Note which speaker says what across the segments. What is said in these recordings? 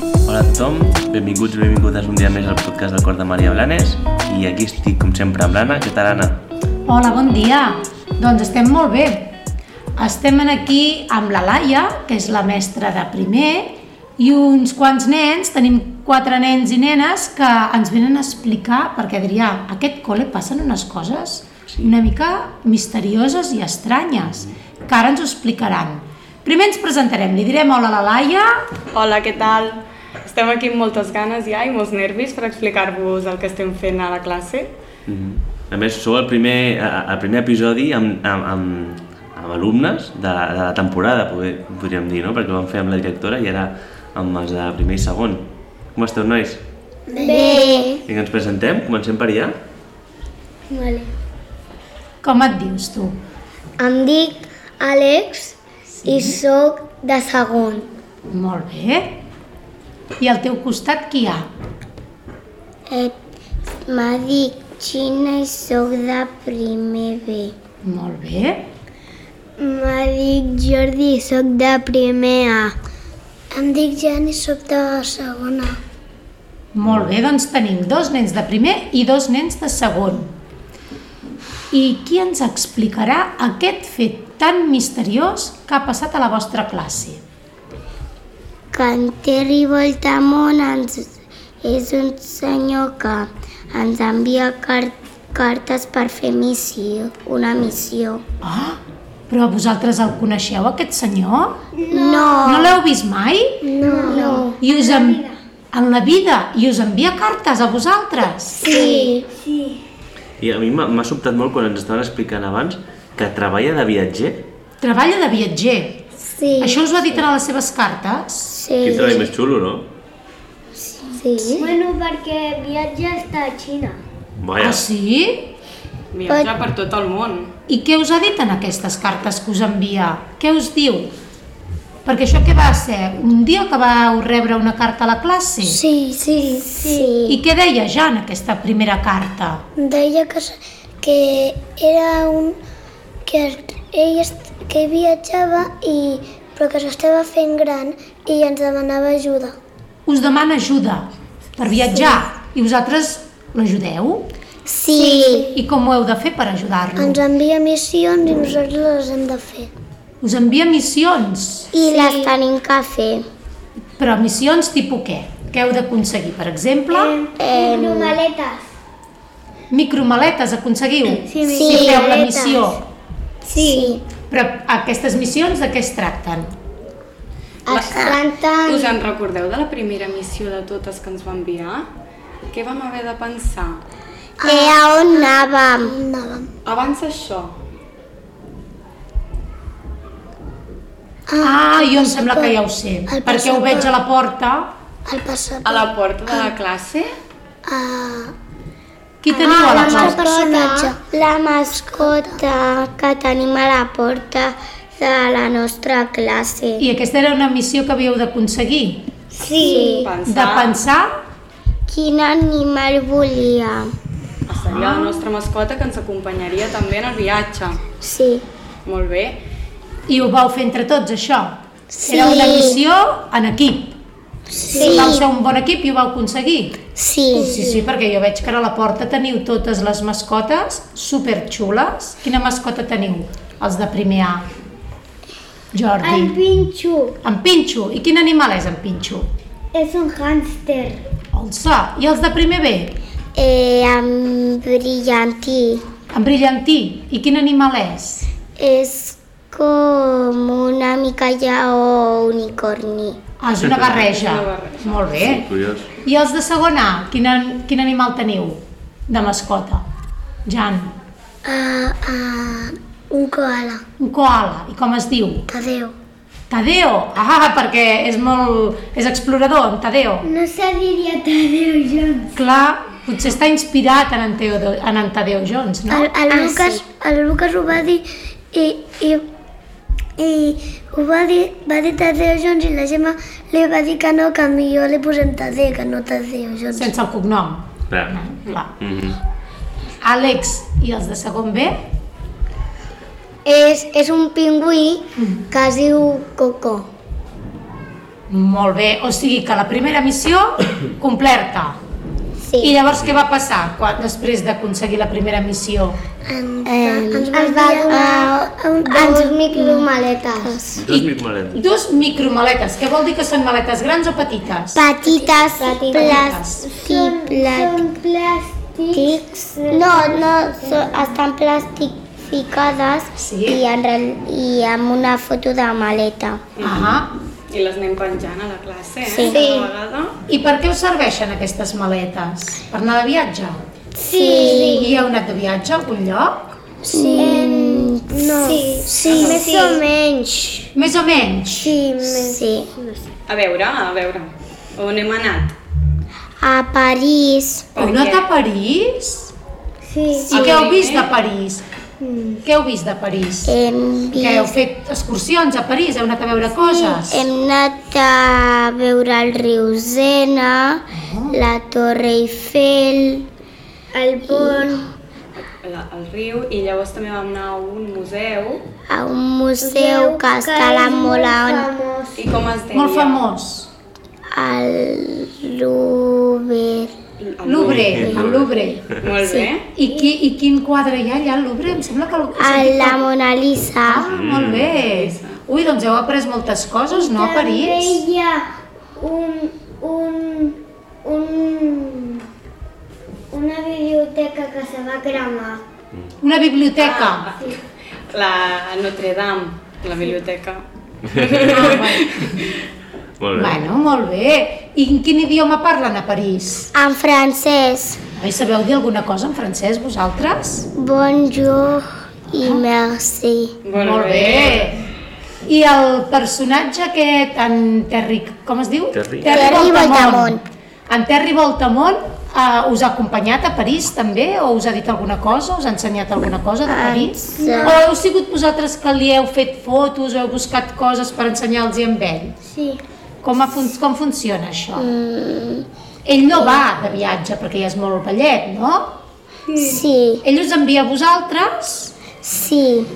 Speaker 1: tothom, benvinguts i benvingudes un dia més al podcast del Cor de Maria Blanes i aquí estic com sempre amb l'Anna, què tal Anna?
Speaker 2: Hola, bon dia. Doncs estem molt bé. Estem en aquí amb la Laia, que és la mestra de primer, i uns quants nens, tenim quatre nens i nenes que ens venen a explicar, perquè Adrià, a aquest col·le passen unes coses
Speaker 1: Sí.
Speaker 2: una mica misterioses i estranyes, que ara ens ho explicaran. Primer ens presentarem, li direm hola a la Laia,
Speaker 3: Hola, què tal? Estem aquí amb moltes ganes ja i molts nervis per explicar-vos el que estem fent a la classe.
Speaker 2: Mm-hmm.
Speaker 1: Mhm. A més, sou el primer, a- el primer episodi amb, amb, amb, amb alumnes de, de la temporada, poder- podríem dir, no? Perquè ho vam fer amb la directora i ara amb els de primer i segon. Com esteu, nois?
Speaker 4: Bé.
Speaker 1: Vinga, ens presentem, comencem per allà.
Speaker 4: Vale.
Speaker 2: com et dius tu?
Speaker 4: Em dic Àlex sí. i sóc de segon.
Speaker 2: Molt bé. I al teu costat qui hi ha?
Speaker 4: Et me dic Xina i sóc de primer B.
Speaker 2: Molt bé.
Speaker 4: Me dic Jordi i sóc de primer A. Em dic Jan i sóc de segona.
Speaker 2: Molt bé, doncs tenim dos nens de primer i dos nens de segon. I qui ens explicarà aquest fet tan misteriós que ha passat a la vostra classe?
Speaker 4: Que en Terry Voltamont ens, és un senyor que ens envia car cartes per fer missió, una missió.
Speaker 2: Ah, però vosaltres el coneixeu, aquest senyor?
Speaker 4: No.
Speaker 2: No l'heu vist mai?
Speaker 4: No. no.
Speaker 2: I us en... En la vida. I us envia cartes a vosaltres?
Speaker 4: Sí.
Speaker 1: I a mi m'ha m'ha sobtat molt quan ens estaven explicant abans que treballa de viatger.
Speaker 2: Treballa de viatger.
Speaker 4: Sí.
Speaker 2: Això us ho ha dit a les seves cartes?
Speaker 4: Sí.
Speaker 1: Quin treball més xulo, no?
Speaker 4: Sí.
Speaker 5: Bueno, perquè viatja està a Xina.
Speaker 1: Vaja.
Speaker 2: Ah, sí?
Speaker 3: Viatja per tot el món.
Speaker 2: I què us ha dit en aquestes cartes que us envia? Què us diu? Perquè això què va ser? Un dia que vau rebre una carta a la classe?
Speaker 4: Sí, sí, sí.
Speaker 2: I què deia ja en aquesta primera carta?
Speaker 4: Deia que, s- que era un... que ell, est- que viatjava i però que s'estava fent gran i ens demanava ajuda.
Speaker 2: Us demana ajuda per viatjar i vosaltres l'ajudeu?
Speaker 4: Sí.
Speaker 2: I com ho heu de fer per ajudar-lo?
Speaker 4: Ens envia missions i nosaltres les hem de fer.
Speaker 2: Us envia missions,
Speaker 4: I sí. les tenim que fer.
Speaker 2: però missions tipus què? Què heu d'aconseguir? Per exemple,
Speaker 4: Eh,
Speaker 5: Maletes.
Speaker 2: micromaletes aconseguiu?
Speaker 4: Sí,
Speaker 2: si feu la
Speaker 4: micromaletes.
Speaker 2: missió.
Speaker 4: sí.
Speaker 2: Però aquestes missions de què es tracten?
Speaker 4: Es canten...
Speaker 3: Us en recordeu de la primera missió de totes que ens va enviar? Què vam haver de pensar?
Speaker 4: Eh, a on anàvem? Anàvem.
Speaker 3: Abans això,
Speaker 2: Ah, jo em sembla que ja ho sé,
Speaker 4: El
Speaker 2: perquè ho
Speaker 4: passaport.
Speaker 2: veig a la porta.
Speaker 4: El passaport.
Speaker 3: a la porta de la classe,
Speaker 4: Ah.
Speaker 2: Qui teniu a la porta?
Speaker 4: mascota, la mascota que tenim a la porta de la nostra classe.
Speaker 2: I aquesta era una missió que havíeu d'aconseguir,
Speaker 4: Sí.
Speaker 2: de
Speaker 3: pensar
Speaker 2: pensar
Speaker 4: Quin animal volia?
Speaker 3: a seria la nostra mascota que ens acompanyaria també en el viatge.
Speaker 4: Sí.
Speaker 3: Molt bé.
Speaker 2: i ho vau fer entre tots, això.
Speaker 4: Sí.
Speaker 2: Era una missió en equip.
Speaker 4: Sí.
Speaker 2: Vau ser un bon equip i ho vau aconseguir.
Speaker 4: Sí.
Speaker 2: Sí, sí, perquè jo veig que ara a la porta teniu totes les mascotes superxules. Quina mascota teniu, els de primer A?
Speaker 5: El
Speaker 2: Jordi.
Speaker 5: pinxo
Speaker 2: En Pinxo. I quin animal és en Pinxo?
Speaker 5: és un hàmster.
Speaker 2: Olsa. I els de primer B?
Speaker 4: Eh, amb brillantí.
Speaker 2: En Brillantí. I quin animal és?
Speaker 4: És com una mica o unicorni.
Speaker 2: Ah, és una barreja.
Speaker 3: Una barreja.
Speaker 2: Molt bé.
Speaker 1: Curiós.
Speaker 2: I els de segon A, quin, an- quin animal teniu de mascota? Jan,
Speaker 4: Ah, ah, un koala.
Speaker 2: un koala. I com es diu?
Speaker 4: Tadeu.
Speaker 2: Tadeo. Ah, perquè és molt... és explorador, en Tadeo.
Speaker 5: No se diria Tadeu Jones.
Speaker 2: Clar, potser està inspirat en en, Teodo, en, en Tadeo Jones, no?
Speaker 4: El, el, Lucas, el Lucas ho va dir i, i, i ho va dir, va dir Tadeu Jones i la Gemma li va dir que no, que millor li posem Tadeu, que no Tadeu Jones.
Speaker 2: Sense el cognom.
Speaker 1: Clar.
Speaker 2: Clar.
Speaker 1: Mhm.
Speaker 2: Àlex i els de segon B?
Speaker 4: És, és un pingüí que es diu Coco.
Speaker 2: Molt bé, o sigui que la primera missió complerta.
Speaker 4: Sí.
Speaker 2: I llavors què va passar quan, després d'aconseguir la primera missió?
Speaker 5: Ens,
Speaker 4: Eh,
Speaker 5: ens, ens va donar uh, dos micromaletes.
Speaker 1: Dos micromaletes.
Speaker 2: Dos micromaletes, que vol dir que són maletes grans o petites?
Speaker 4: Petites,
Speaker 2: Petites.
Speaker 5: Són,
Speaker 4: plàstics.
Speaker 5: són plàstics.
Speaker 4: No, no, so, estan plastificades
Speaker 2: Sí.
Speaker 4: i, en, real- i amb una foto de maleta.
Speaker 2: Ah
Speaker 3: I les anem penjant a la classe, eh?
Speaker 4: Sí.
Speaker 3: Cada vegada.
Speaker 2: I per què us serveixen aquestes maletes? Per anar de viatge?
Speaker 4: Sí.
Speaker 2: I heu anat de viatge a algun lloc?
Speaker 4: Sí. No. Mm, Sí. Sí.
Speaker 5: Més o menys.
Speaker 2: Més o menys?
Speaker 4: Sí. sí.
Speaker 3: A veure, a veure, on hem anat?
Speaker 4: A París.
Speaker 3: Per
Speaker 2: Heu anat
Speaker 3: què?
Speaker 2: a París?
Speaker 5: Sí.
Speaker 2: I què heu
Speaker 3: primer.
Speaker 2: vist de París?
Speaker 3: Mm.
Speaker 2: Què heu vist de París?
Speaker 4: Hem
Speaker 2: Que heu
Speaker 4: vist...
Speaker 2: fet excursions a París, heu anat a veure coses?
Speaker 4: Hem anat a veure el riu Sena, la Torre Eiffel,
Speaker 5: El pont.
Speaker 3: La, al riu i llavors també vam anar a un museu
Speaker 4: a un museu que està a la Mola on
Speaker 5: famós.
Speaker 3: i com es deia?
Speaker 2: Molt famós.
Speaker 4: el Louvre.
Speaker 3: L- al
Speaker 2: Louvre, el Louvre.
Speaker 3: Molt bé.
Speaker 2: I, qui, I quin quadre hi ha allà al Louvre? Em sembla que... algú-
Speaker 4: A la Mona Lisa.
Speaker 2: Ah, molt bé. Ui, doncs heu après moltes coses, no, a
Speaker 5: També
Speaker 2: París?
Speaker 5: hi ha un, un, un, una biblioteca que se va cremar.
Speaker 2: Una biblioteca. Ah,
Speaker 3: La Notre Dame, la biblioteca.
Speaker 2: Ah, bueno.
Speaker 1: Molt bé.
Speaker 2: Bueno, molt bé. I en quin idioma parlen a París?
Speaker 4: En francès,
Speaker 2: Ai, sabeu dir alguna cosa en francès, vosaltres?
Speaker 4: bonjour i merci.
Speaker 2: molt bé. I el personatge aquest, en Terry... Com es diu?
Speaker 1: Terry.
Speaker 4: Terry Voltamont.
Speaker 2: En Terry Voltamont eh, us ha acompanyat a París també? O us ha dit alguna cosa? Us ha ensenyat alguna cosa de París?
Speaker 4: Ens, eh,
Speaker 2: O heu sigut vosaltres que li heu fet fotos o heu buscat coses per ensenyar-los amb ell?
Speaker 4: Sí.
Speaker 2: Com, a fun com funciona això?
Speaker 4: Mm.
Speaker 2: Ell no va de viatge perquè ja és molt vellet, no?
Speaker 4: Sí,
Speaker 2: Ell us envia a vosaltres
Speaker 4: sí.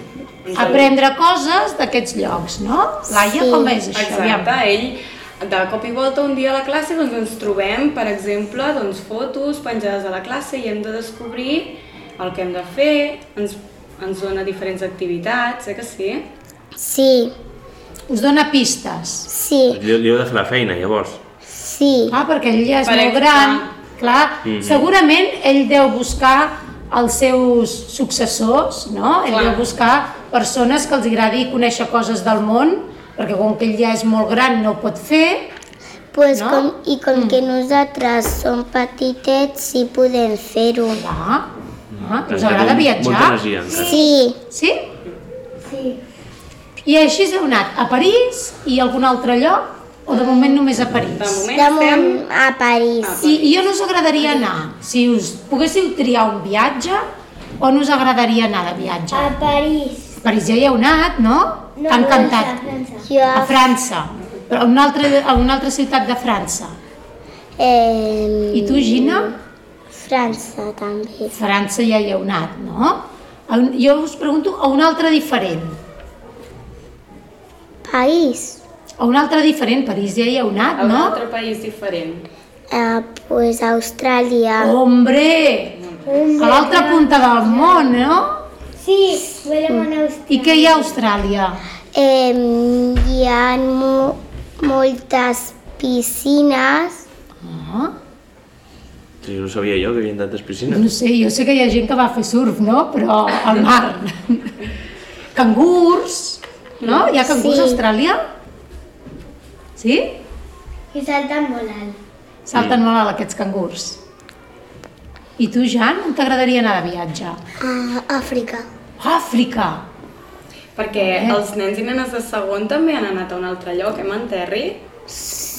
Speaker 2: a aprendre coses d'aquests llocs, no? Laia,
Speaker 4: Sí,
Speaker 2: com és això?
Speaker 3: Exacte, ell de cop i volta un dia a la classe doncs ens trobem, per exemple, doncs, fotos penjades a la classe i hem de descobrir el que hem de fer, ens, ens dona diferents activitats, eh que sí?
Speaker 4: Sí,
Speaker 2: Us dona pistes.
Speaker 4: sí,
Speaker 1: Li, li heu de fer la feina, llavors.
Speaker 4: sí,
Speaker 2: Ah, perquè ell ja és
Speaker 3: Per
Speaker 2: molt
Speaker 3: exemple.
Speaker 2: gran, clar.
Speaker 1: Mhm.
Speaker 2: Segurament ell deu buscar els seus successors, no? Ell
Speaker 3: Clar.
Speaker 2: deu buscar persones que els agradi conèixer coses del món, perquè com que ell ja és molt gran no ho pot fer,
Speaker 4: pues
Speaker 2: No?
Speaker 4: com, i com que nosaltres som petitets sí podem fer-ho.
Speaker 2: clar, clar. us
Speaker 1: Ens queda
Speaker 2: agrada
Speaker 1: un- Molta
Speaker 2: viatjar.
Speaker 1: energia. encara.
Speaker 4: Sí,
Speaker 2: Sí?
Speaker 5: Sí.
Speaker 2: I així heu anat a París i a algun altre lloc, o de moment només a París?
Speaker 3: De moment
Speaker 4: de
Speaker 3: estem...
Speaker 4: món a París.
Speaker 2: I, I on us agradaria anar? Si us poguéssiu triar un viatge, on us agradaria anar de viatge?
Speaker 5: A París.
Speaker 2: A París ja hi heu anat, no?
Speaker 5: No,
Speaker 2: T'ha
Speaker 5: A
Speaker 2: encantat.
Speaker 5: França.
Speaker 4: Jo
Speaker 2: A França, però a una, altra, a una altra ciutat de França.
Speaker 4: eh,
Speaker 2: I tu, Gina?
Speaker 4: França també.
Speaker 2: França ja hi heu anat, no? A un- Jo us pregunto a un altre diferent.
Speaker 4: País.
Speaker 2: A un altre diferent, París ja hi heu anat,
Speaker 3: a un
Speaker 2: no?
Speaker 3: altre país diferent.
Speaker 4: Eh, pues Austràlia.
Speaker 2: Ah. Hombre! A l'altra punta del món, no?
Speaker 5: Sí,
Speaker 4: Mm.
Speaker 5: volem anar a
Speaker 2: I què hi ha a Austràlia?
Speaker 4: Eh, hi ha mo moltes piscines.
Speaker 2: Ah,
Speaker 1: Sí, no sabia jo que havien tantes piscines.
Speaker 2: no sé, jo sé que hi ha gent que va a fer surf, no? Però al mar. cangurs, no? Hi ha cangurs
Speaker 4: Sí.
Speaker 2: a Austràlia? Sí?
Speaker 5: I salten molt alt.
Speaker 2: Salten molt alt aquests cangurs. I tu, Jan, on t'agradaria anar de viatge?
Speaker 4: A Àfrica.
Speaker 2: Àfrica!
Speaker 3: Perquè els nens i nenes de segon també han anat a un altre lloc, eh, hem en Terri?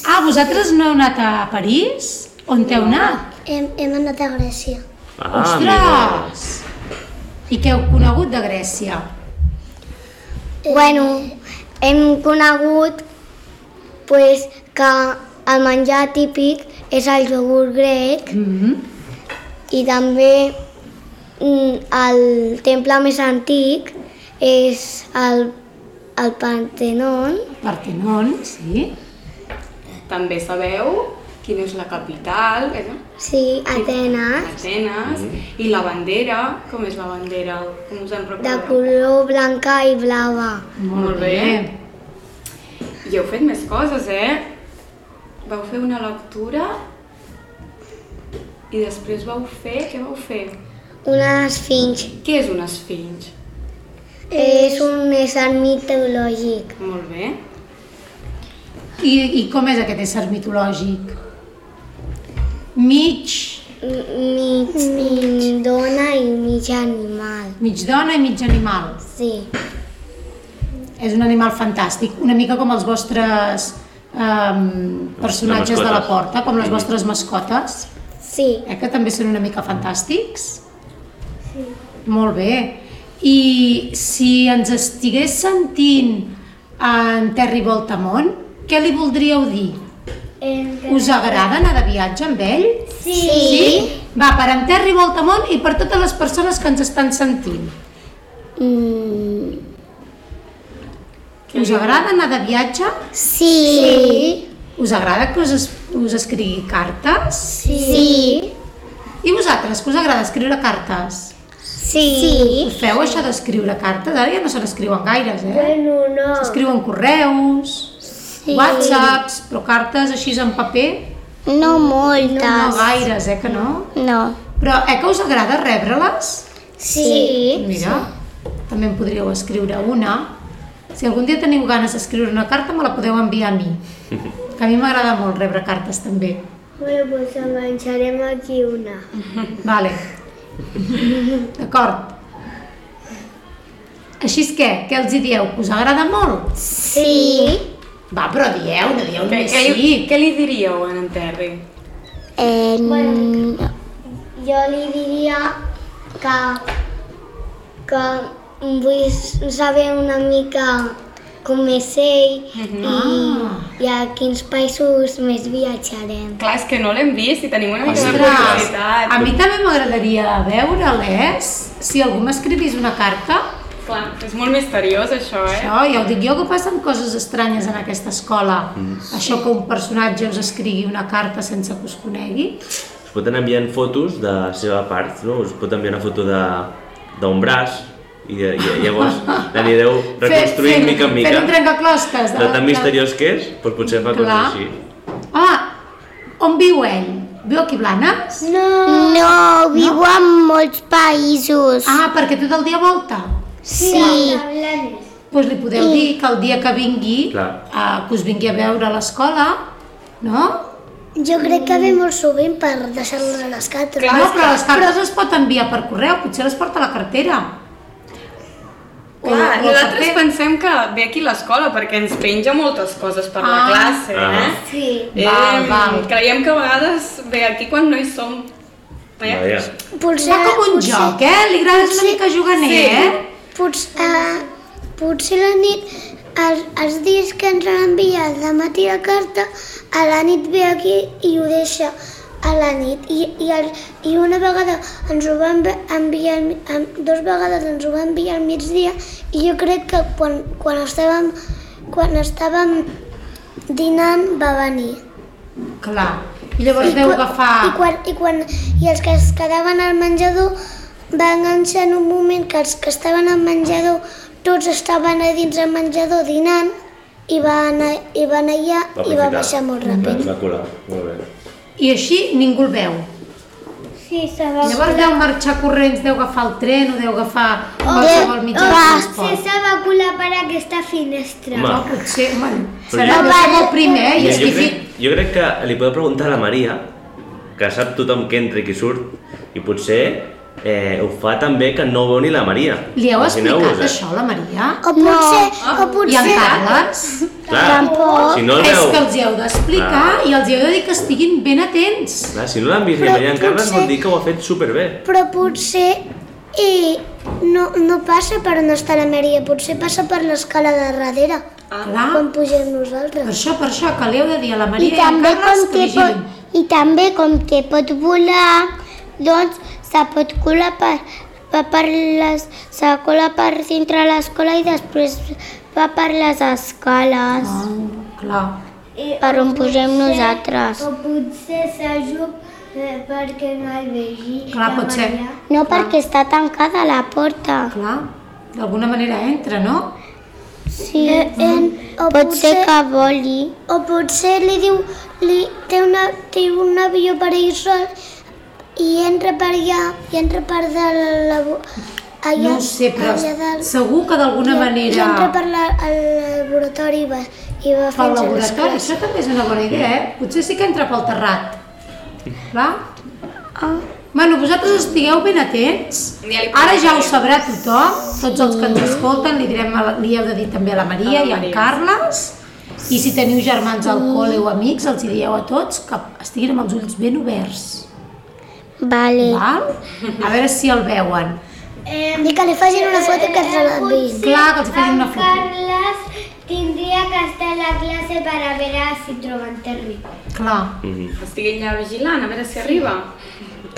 Speaker 2: Ah, vosaltres no heu anat a París? On t'heu anat?
Speaker 4: Hem, hem anat a Grècia.
Speaker 1: Ah,
Speaker 2: Ostres! I què heu conegut de Grècia?
Speaker 4: Eh, Bueno, hem conegut pues, que el menjar típic és el iogurt grec
Speaker 2: Mm
Speaker 3: Mhm.
Speaker 4: i també mm, el temple més antic és el, el Partenon
Speaker 2: Partenon, sí.
Speaker 3: També sabeu quina és la capital, eh? no?
Speaker 4: Sí, Atenes,
Speaker 3: Atenes, i la bandera, com és la bandera? Com us en
Speaker 4: de
Speaker 3: recordeu?
Speaker 4: color blanca i blava.
Speaker 3: Molt bé. I heu fet més coses, eh? Vau fer una lectura i després vau fer... Què vau fer?
Speaker 4: Una esfinx.
Speaker 3: Què és un esfinx?
Speaker 4: És un ésser mitològic.
Speaker 3: Molt bé.
Speaker 2: I, I com és aquest ésser mitològic? Mig,
Speaker 4: M- Mig, mig dona i mig animal.
Speaker 2: mig dona i mig animal.
Speaker 4: Sí.
Speaker 2: És un animal fantàstic, una mica com els vostres um, personatges de la
Speaker 1: mascotes.
Speaker 2: porta, com les vostres mascotes,
Speaker 4: Sí.
Speaker 2: eh, que també són una mica fantàstics. Sí. Molt bé. I si ens estigués sentint en Terry Voltamont, què li voldríeu dir? Us agrada anar de viatge amb ell?
Speaker 4: Sí.
Speaker 2: Va, per en Terry Voltamont i per totes les persones que ens estan sentint.
Speaker 4: Mm,
Speaker 2: Us agrada anar de viatge?
Speaker 4: sí.
Speaker 2: Us agrada que us, es, us escrigui cartes?
Speaker 4: Sí. Sí.
Speaker 2: I vosaltres, que us agrada escriure cartes?
Speaker 4: Sí.
Speaker 2: Ho feu això d'escriure cartes? Ara ja no se n'escriuen gaires, eh?
Speaker 4: Bueno, no.
Speaker 2: S'escriuen correus, sí. whatsapps, però cartes així en paper?
Speaker 4: No
Speaker 2: No,
Speaker 4: moltes.
Speaker 2: no gaires, eh, que no?
Speaker 4: No.
Speaker 2: Però eh, que us agrada rebre-les?
Speaker 4: Sí.
Speaker 2: Mira, també em podríeu escriure una. Si algun dia teniu ganes d'escriure una carta, me la podeu enviar a mi. Que a mi m'agrada molt rebre cartes, també.
Speaker 4: Bueno,
Speaker 5: pues
Speaker 4: doncs enganxarem aquí una.
Speaker 2: Vale. D'acord. Així és que, què els hi dieu? Que us agrada molt?
Speaker 4: Sí.
Speaker 2: Va, però dieu, no dieu
Speaker 3: Què,
Speaker 2: només
Speaker 3: què,
Speaker 2: sí.
Speaker 3: li, què li diríeu a en Terry?
Speaker 4: Eh, bueno, jo li diria que, que vull saber una mica com és ell
Speaker 2: Ah.
Speaker 4: i, i a quins països més viatjarem.
Speaker 3: Clar, és que no l'hem vist i tenim una mica de
Speaker 2: Ostres,
Speaker 3: curiositat.
Speaker 2: a mi també m'agradaria veure'l·les. Si algú m'escrivís una carta,
Speaker 3: Clar, és molt misteriós això, eh?
Speaker 2: Això, ja ho dic jo, que passen coses estranyes en aquesta escola.
Speaker 1: Mm.
Speaker 2: Això que un personatge us escrigui una carta sense que us conegui.
Speaker 1: Us pot anar enviant fotos de la seva part, no? Us pot enviar una foto de- d'un braç i, de- i llavors l'anireu reconstruint
Speaker 2: Fer- fer-
Speaker 1: mica en mica.
Speaker 2: Fer un trencaclosques.
Speaker 1: De tan misteriós que és, doncs potser fa coses
Speaker 2: Clar.
Speaker 1: així.
Speaker 2: Ah, on viu ell? Viu aquí a Blanes?
Speaker 4: No, no viu no? en molts països.
Speaker 2: Ah, perquè tot el dia volta.
Speaker 4: sí.
Speaker 2: Doncs pues li podeu dir que el dia que vingui,
Speaker 1: Clar.
Speaker 2: eh, que us vingui a veure a l'escola, no?
Speaker 4: Jo crec que ve molt sovint per deixar-los a les catres.
Speaker 2: no, però les cartes es pot enviar per correu, potser les porta a la cartera. O-
Speaker 3: Clar,
Speaker 2: o al
Speaker 3: nosaltres
Speaker 2: paper.
Speaker 3: pensem que ve aquí a l'escola perquè ens penja moltes coses per la
Speaker 2: Ah.
Speaker 3: classe,
Speaker 1: Ah.
Speaker 3: eh?
Speaker 4: Sí.
Speaker 2: Val,
Speaker 3: Em,
Speaker 2: val.
Speaker 3: Creiem que a vegades ve aquí quan no hi som. Eh?
Speaker 1: Vaja.
Speaker 4: Potser,
Speaker 2: Serà com un joc, eh? Li agrada una mica juganer,
Speaker 3: Sí.
Speaker 2: eh?
Speaker 4: Potser, eh, potser la nit, els, els dies que ens han enviat de matí la carta, a la nit ve aquí i ho deixa a la nit. I, i, el, i una vegada ens ho van ve- enviar, al mi- em- dos vegades ens ho van enviar al migdia i jo crec que quan, quan estàvem, quan estàvem dinant va venir.
Speaker 2: Clar. I llavors
Speaker 4: I
Speaker 2: deu
Speaker 4: quan- I
Speaker 2: agafar...
Speaker 4: quan, i quan i els que es quedaven al menjador va enganxar en un moment que els que estaven al menjador tots estaven a dins del menjador dinant i va anar, i va anar allà
Speaker 1: Va
Speaker 4: i va
Speaker 1: aprofitar.
Speaker 4: baixar molt
Speaker 2: Mm.
Speaker 1: Va,
Speaker 4: ràpid.
Speaker 1: va colar, molt bé.
Speaker 2: I així ningú el veu.
Speaker 4: Sí, se va
Speaker 2: Llavors deu marxar corrents, deu agafar el tren o deu agafar
Speaker 5: Oh,
Speaker 2: qualsevol mitjà de transport.
Speaker 4: se va colar per aquesta finestra.
Speaker 1: Home,
Speaker 2: No, potser, bueno,
Speaker 1: Però
Speaker 2: serà
Speaker 1: jo-
Speaker 2: deu ser molt primer, eh? I
Speaker 1: jo,
Speaker 2: és
Speaker 1: jo,
Speaker 2: difícil.
Speaker 1: crec, jo crec que li podeu preguntar a la Maria, que sap tothom que entra i qui surt, i potser eh, ho fa també que no ho veu ni la Maria.
Speaker 2: Li heu
Speaker 1: Imagineu-vos, eh?
Speaker 2: explicat això, a la Maria?
Speaker 4: O potser, o
Speaker 2: Ah. I en
Speaker 4: potser,
Speaker 2: Carles?
Speaker 1: Clar,
Speaker 4: Tampoc.
Speaker 1: Si no el
Speaker 2: És
Speaker 1: veu...
Speaker 2: que els hi heu d'explicar i els hi heu de dir que estiguin ben atents.
Speaker 1: Clar, si no l'han vist ni
Speaker 4: Però
Speaker 1: Maria en Carles,
Speaker 4: potser-
Speaker 1: vol dir que ho ha fet superbé.
Speaker 4: però potser i no, no passa per on està la Maria, potser passa per l'escala de darrere,
Speaker 2: Ah. Clar,
Speaker 4: quan pugem nosaltres.
Speaker 2: per això, per això, que li heu de dir a la
Speaker 6: I
Speaker 2: Maria i, a en
Speaker 6: també, com
Speaker 2: Carles que
Speaker 6: que
Speaker 2: vigilin.
Speaker 6: pot, I també com que pot volar, doncs se pot colar per, va per les, se cola per dintre l'escola i després va per les escales.
Speaker 2: Ah, clar.
Speaker 5: eh,
Speaker 7: per
Speaker 5: o
Speaker 7: on posem
Speaker 5: potser-
Speaker 7: nosaltres.
Speaker 5: O potser s'ajup eh, perquè no el vegi.
Speaker 2: Clar,
Speaker 5: la
Speaker 2: pot ser.
Speaker 5: Maria.
Speaker 7: No
Speaker 5: Ah.
Speaker 7: perquè està tancada la porta.
Speaker 2: Clar, d'alguna manera entra, no?
Speaker 7: Sí,
Speaker 5: Eh, en, o
Speaker 7: pot ser que voli.
Speaker 5: O potser li diu, li, té, una, té un avió per ell sol i entra per allà, i entra per de la... la bo- allà,
Speaker 2: No ho sé, però
Speaker 5: allà dalt.
Speaker 2: segur que d'alguna
Speaker 5: I entra
Speaker 2: manera...
Speaker 5: per la, al laboratori i va, i
Speaker 2: Pel
Speaker 5: va fins a les
Speaker 2: laboratori,
Speaker 5: classes.
Speaker 2: això també és una bona idea, eh? Potser sí que entra pel terrat. Clar?
Speaker 5: Ah.
Speaker 2: Bueno, vosaltres estigueu ben atents.
Speaker 3: Ja li
Speaker 2: Ara ja ho
Speaker 3: preguntarem.
Speaker 2: sabrà tothom, tots els que ens escolten, li, direm a la, li heu de dir també a la Maria
Speaker 3: A la
Speaker 2: i al
Speaker 3: Maria.
Speaker 2: Carles. I si teniu germans al col·le o amics, els hi dieu a tots que estiguin amb els ulls ben oberts.
Speaker 7: Vale.
Speaker 2: Val? A veure si el veuen.
Speaker 5: I que li facin una foto que ens l'enviïn.
Speaker 2: Clar, que els facin una foto.
Speaker 5: Carles tindria que estar a la classe per a veure si troben Terry.
Speaker 2: Clar.
Speaker 1: Mhm.
Speaker 3: Estiguin allà vigilant, a veure si arriba.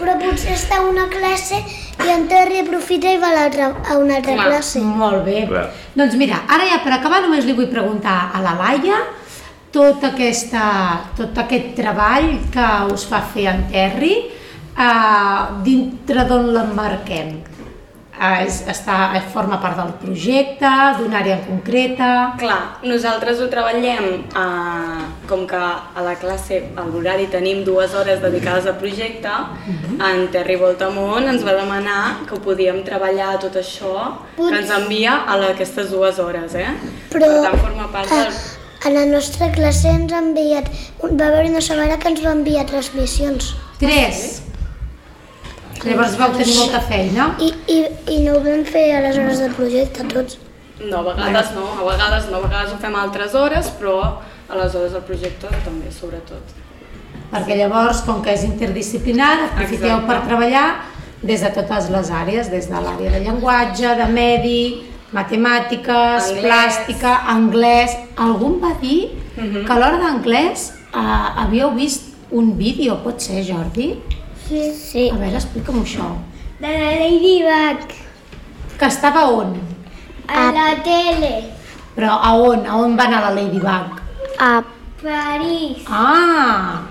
Speaker 5: Però potser està a una classe i en Terry aprofita i va a, l'altra, a una altra
Speaker 3: Clar.
Speaker 5: classe.
Speaker 2: Molt bé.
Speaker 1: Clar.
Speaker 2: Doncs mira, ara ja per acabar només li vull preguntar a la Laia tot, aquesta, tot aquest treball que us fa fer en Terri, eh, dintre d'on l'emmarquem? Eh, és, està, eh, forma part del projecte, d'una àrea en concreta...
Speaker 3: Clar, nosaltres ho treballem eh, com que a la classe, a l'horari, tenim dues hores dedicades al projecte.
Speaker 2: Mhm.
Speaker 3: En Terry Voltamont ens va demanar que ho podíem treballar tot això que ens envia a la- aquestes dues hores, eh?
Speaker 5: Però,
Speaker 3: per tant, forma part del...
Speaker 5: A la nostra classe ens ha enviat, va haver una setmana que ens va enviar transmissions.
Speaker 2: Tres! Llavors vau tenir molta feina.
Speaker 5: I, i, i no ho vam fer a les hores del projecte tots.
Speaker 3: No, a vegades no, a vegades no, a vegades ho fem a altres hores, però a les hores del projecte també, sobretot.
Speaker 2: perquè llavors, com que és interdisciplinar, aprofiteu
Speaker 3: Exacte.
Speaker 2: per treballar des de totes les àrees, des de l'àrea de llenguatge, de medi, matemàtiques,
Speaker 3: Anglès.
Speaker 2: plàstica, anglès... Algú em va dir
Speaker 3: Mhm.
Speaker 2: que a l'hora d'anglès eh, havíeu vist un vídeo, pot ser, Jordi?
Speaker 5: Sí.
Speaker 7: Sí.
Speaker 2: A veure, explica'm això.
Speaker 5: De la Ladybug,
Speaker 2: Que estava on?
Speaker 5: a la tele,
Speaker 2: Però a on? A on va anar la Ladybug?
Speaker 7: A
Speaker 5: París.
Speaker 2: Ah!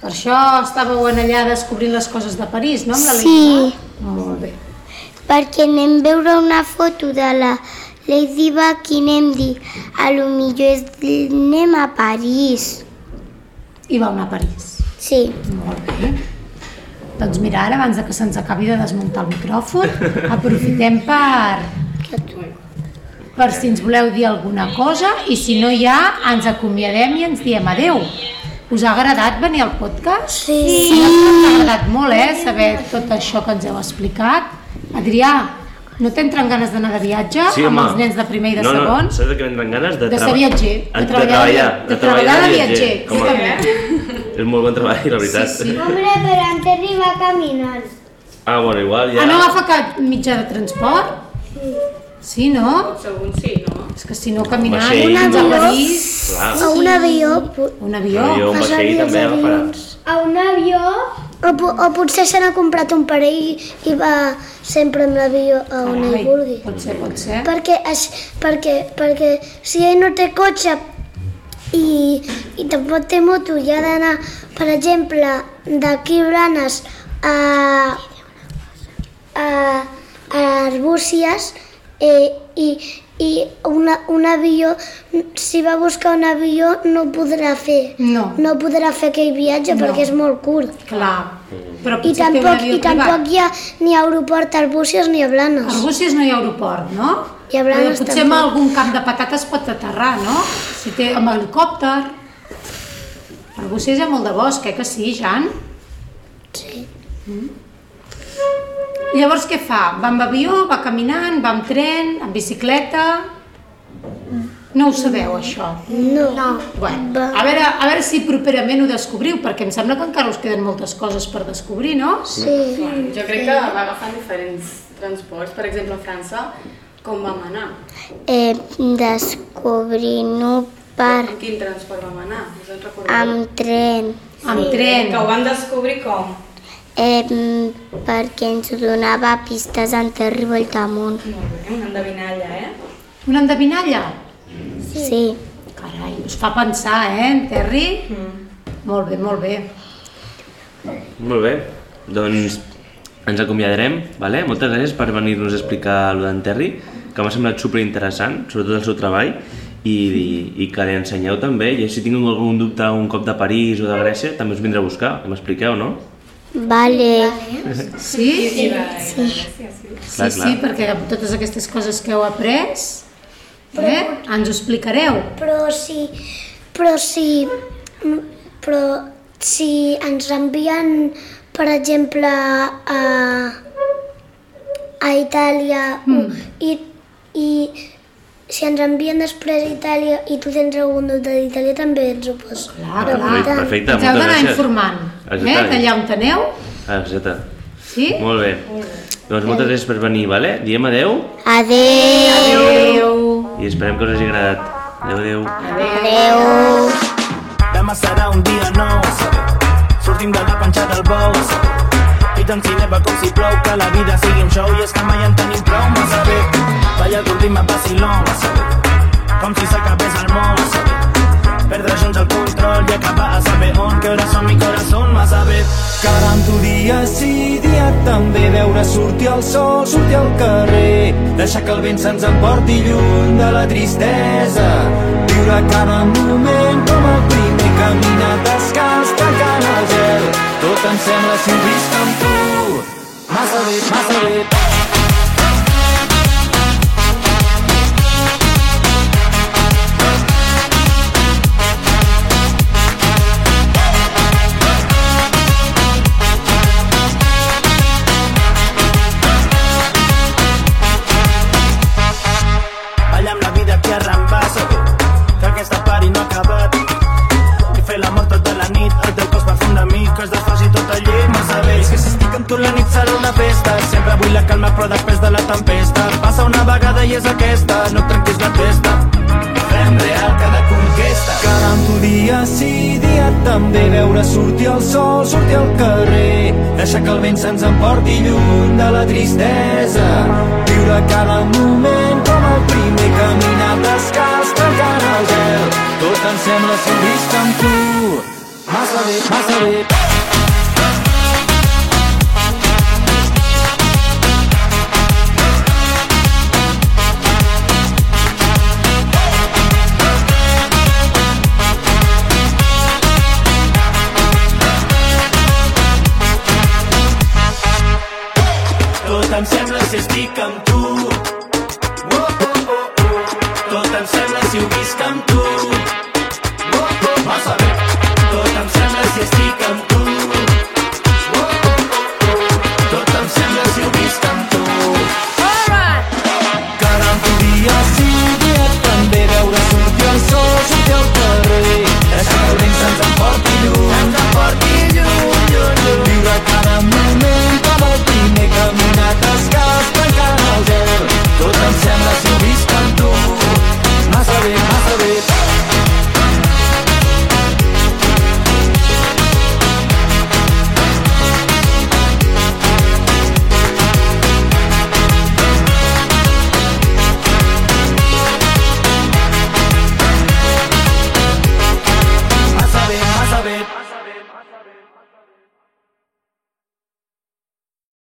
Speaker 2: Per això estàveu en allà descobrint les coses de París, no? Amb la
Speaker 7: Sí.
Speaker 2: Ladybug? Molt bé.
Speaker 7: perquè anem a veure una foto de la Ladybug i anem a dir a lo millor és, anem a París.
Speaker 2: I va anar a París.
Speaker 7: Sí.
Speaker 2: Molt bé. Doncs mira, ara abans de que se'ns acabi de desmuntar el micròfon, aprofitem per... per si ens voleu dir alguna cosa i si no ja ens acomiadem i ens diem adeu. Us ha agradat venir al podcast?
Speaker 5: Sí.
Speaker 2: Sí. Ens ha agradat molt, eh, saber tot això que ens heu explicat. Adrià, no t'entren ganes d'anar de viatge amb els nens de primer i de
Speaker 1: no,
Speaker 2: segon?
Speaker 1: No, saps de què venen ganes?
Speaker 2: De ser
Speaker 1: traba-
Speaker 2: viatger, de
Speaker 1: De
Speaker 2: treballar de-
Speaker 1: treballar.
Speaker 2: de treballar de viatger,
Speaker 1: Home,
Speaker 2: jo
Speaker 1: és molt bon treball, la veritat.
Speaker 2: Sí, sí.
Speaker 5: Hombre, però en Terry va caminant.
Speaker 1: Ah, bueno, igual ja...
Speaker 2: Ah, no agafa cap mitjà de transport? Sí, no?
Speaker 3: Segon sí, no?
Speaker 2: És que si no caminant,
Speaker 1: vaixell,
Speaker 2: ens a
Speaker 1: no?
Speaker 2: París,
Speaker 1: Clar,
Speaker 5: A un avió, po-
Speaker 2: un
Speaker 1: un
Speaker 2: avió.
Speaker 1: avió, un
Speaker 5: Els
Speaker 1: vaixell
Speaker 5: avions,
Speaker 1: també agafarà.
Speaker 5: a un avió... O, po- o potser se n'ha comprat un parell i va sempre amb l'avió a on
Speaker 2: Carai,
Speaker 5: ell vulgui.
Speaker 2: Pot ser, pot ser.
Speaker 5: Perquè, aix- perquè, perquè si ell no té cotxe i, i tampoc té moto i ha d'anar, per exemple, d'aquí Blanes a, a, a Arbúcies eh, i, i una, un avió, si va a buscar un avió no ho podrà fer.
Speaker 2: No.
Speaker 5: No podrà fer aquell viatge
Speaker 2: No.
Speaker 5: perquè és molt curt.
Speaker 2: Clar.
Speaker 1: Mm.
Speaker 2: Però
Speaker 5: I
Speaker 2: potser té un
Speaker 5: tampoc,
Speaker 2: avió
Speaker 5: I tampoc
Speaker 2: privat.
Speaker 5: hi ha ni aeroport a Arbúcies ni a
Speaker 2: A
Speaker 5: Blanes.
Speaker 2: Arbúcies no hi ha aeroport, no?
Speaker 5: I a Blanes
Speaker 2: Però potser amb
Speaker 5: tampoc.
Speaker 2: algun camp de patates pot aterrar, no? Si té amb helicòpter. A Arbúcies hi ha molt de bosc, eh que sí, Jan?
Speaker 5: Sí.
Speaker 2: Llavors què fa? Va amb avió, va caminant, va amb tren, amb bicicleta... No ho sabeu, això.
Speaker 5: No. no.
Speaker 2: Bueno, a veure, a veure si properament ho descobriu, perquè em sembla que encara us queden moltes coses per descobrir, no?
Speaker 5: Sí.
Speaker 3: Jo crec que va agafant diferents transports. Per exemple, a França, com vam anar?
Speaker 7: Eh, Descobrint-ho per
Speaker 3: Amb quin transport vam anar? Us en recordeu?
Speaker 7: amb tren
Speaker 2: Amb tren.
Speaker 3: Que ho van descobrir com?
Speaker 7: eh, perquè ens donava pistes en Terry Voltamunt.
Speaker 3: Molt bé, una endevinalla, eh?
Speaker 2: Una endevinalla?
Speaker 7: Sí. sí.
Speaker 2: Carai, us fa pensar, eh, en Terry? Mm. Molt bé, molt bé.
Speaker 1: Molt bé, doncs ens acomiadarem, vale? moltes gràcies per venir-nos a explicar allò d'en Terry, que m'ha semblat superinteressant, sobretot el seu treball, i, i, i que li ensenyeu també, i si tinc algun dubte un cop de París o de Grècia, també us vindré a buscar, que m'expliqueu, no?
Speaker 8: Vale.
Speaker 2: Sí? Sí,
Speaker 1: Clar,
Speaker 2: sí,
Speaker 1: clar.
Speaker 2: sí perquè amb totes aquestes coses que heu après, eh, ens ho explicareu.
Speaker 4: Però si, però si, però si ens envien, per exemple, a, a Itàlia mm. i, i si ens envien després a Itàlia i tu tens algun dubte d'Itàlia també ens ho pots.
Speaker 2: Ah, Clar, clar.
Speaker 1: Perfecte, perfecte,
Speaker 2: ens heu
Speaker 1: moltes
Speaker 2: d'anar
Speaker 1: gràcies.
Speaker 2: informant, eh,
Speaker 1: Exactament.
Speaker 2: d'allà on aneu,
Speaker 1: Ah, Exacte.
Speaker 2: sí?
Speaker 1: Molt bé. Doncs moltes gràcies per venir, vale? diem adeu
Speaker 8: Adeu.
Speaker 2: Adéu.
Speaker 1: i esperem que us hagi agradat. Adeu, adeu.
Speaker 9: Demà serà un dia nou Sortim de la panxada al bou I tant si neva com si plou Que la vida sigui un show I és que mai en tenim prou Massa bé Balla el ritme vacilón Com si s'acabés el món Perdre junts el control I acabar a saber on Que hora som mi corazón Massa bé
Speaker 10: Caram, tu dia sí, dia també Veure sortir el sol, sortir al carrer Deixar que el vent se'ns emporti lluny de la tristesa Viure cada moment com el primer Caminar descalç, tancant el gel Tot em sembla si ho visc amb tu Massa bé, massa bé
Speaker 9: Balla amb la vida que arrambàs Que aquesta pari no ha acabat Que fer l'amor tota la nit El teu cos perfum de mi Que es desfaci tota tot el llit Massa bé És que si estic amb tu la nit serà una festa Sempre vull la calma però després de la tempesta Passa una vegada i és aquesta No et trenquis la testa Fem real cada conquesta
Speaker 10: Caram, tu dia sí, dia també Veure sortir el sol, sortir al carrer Deixar que el vent se'ns emporti lluny de la tristesa Viure cada moment com el primer Caminar descalç, trencant el gel Tot em sembla ser vist amb tu Massa bé, massa bé
Speaker 9: Tot em sembla si estic amb tu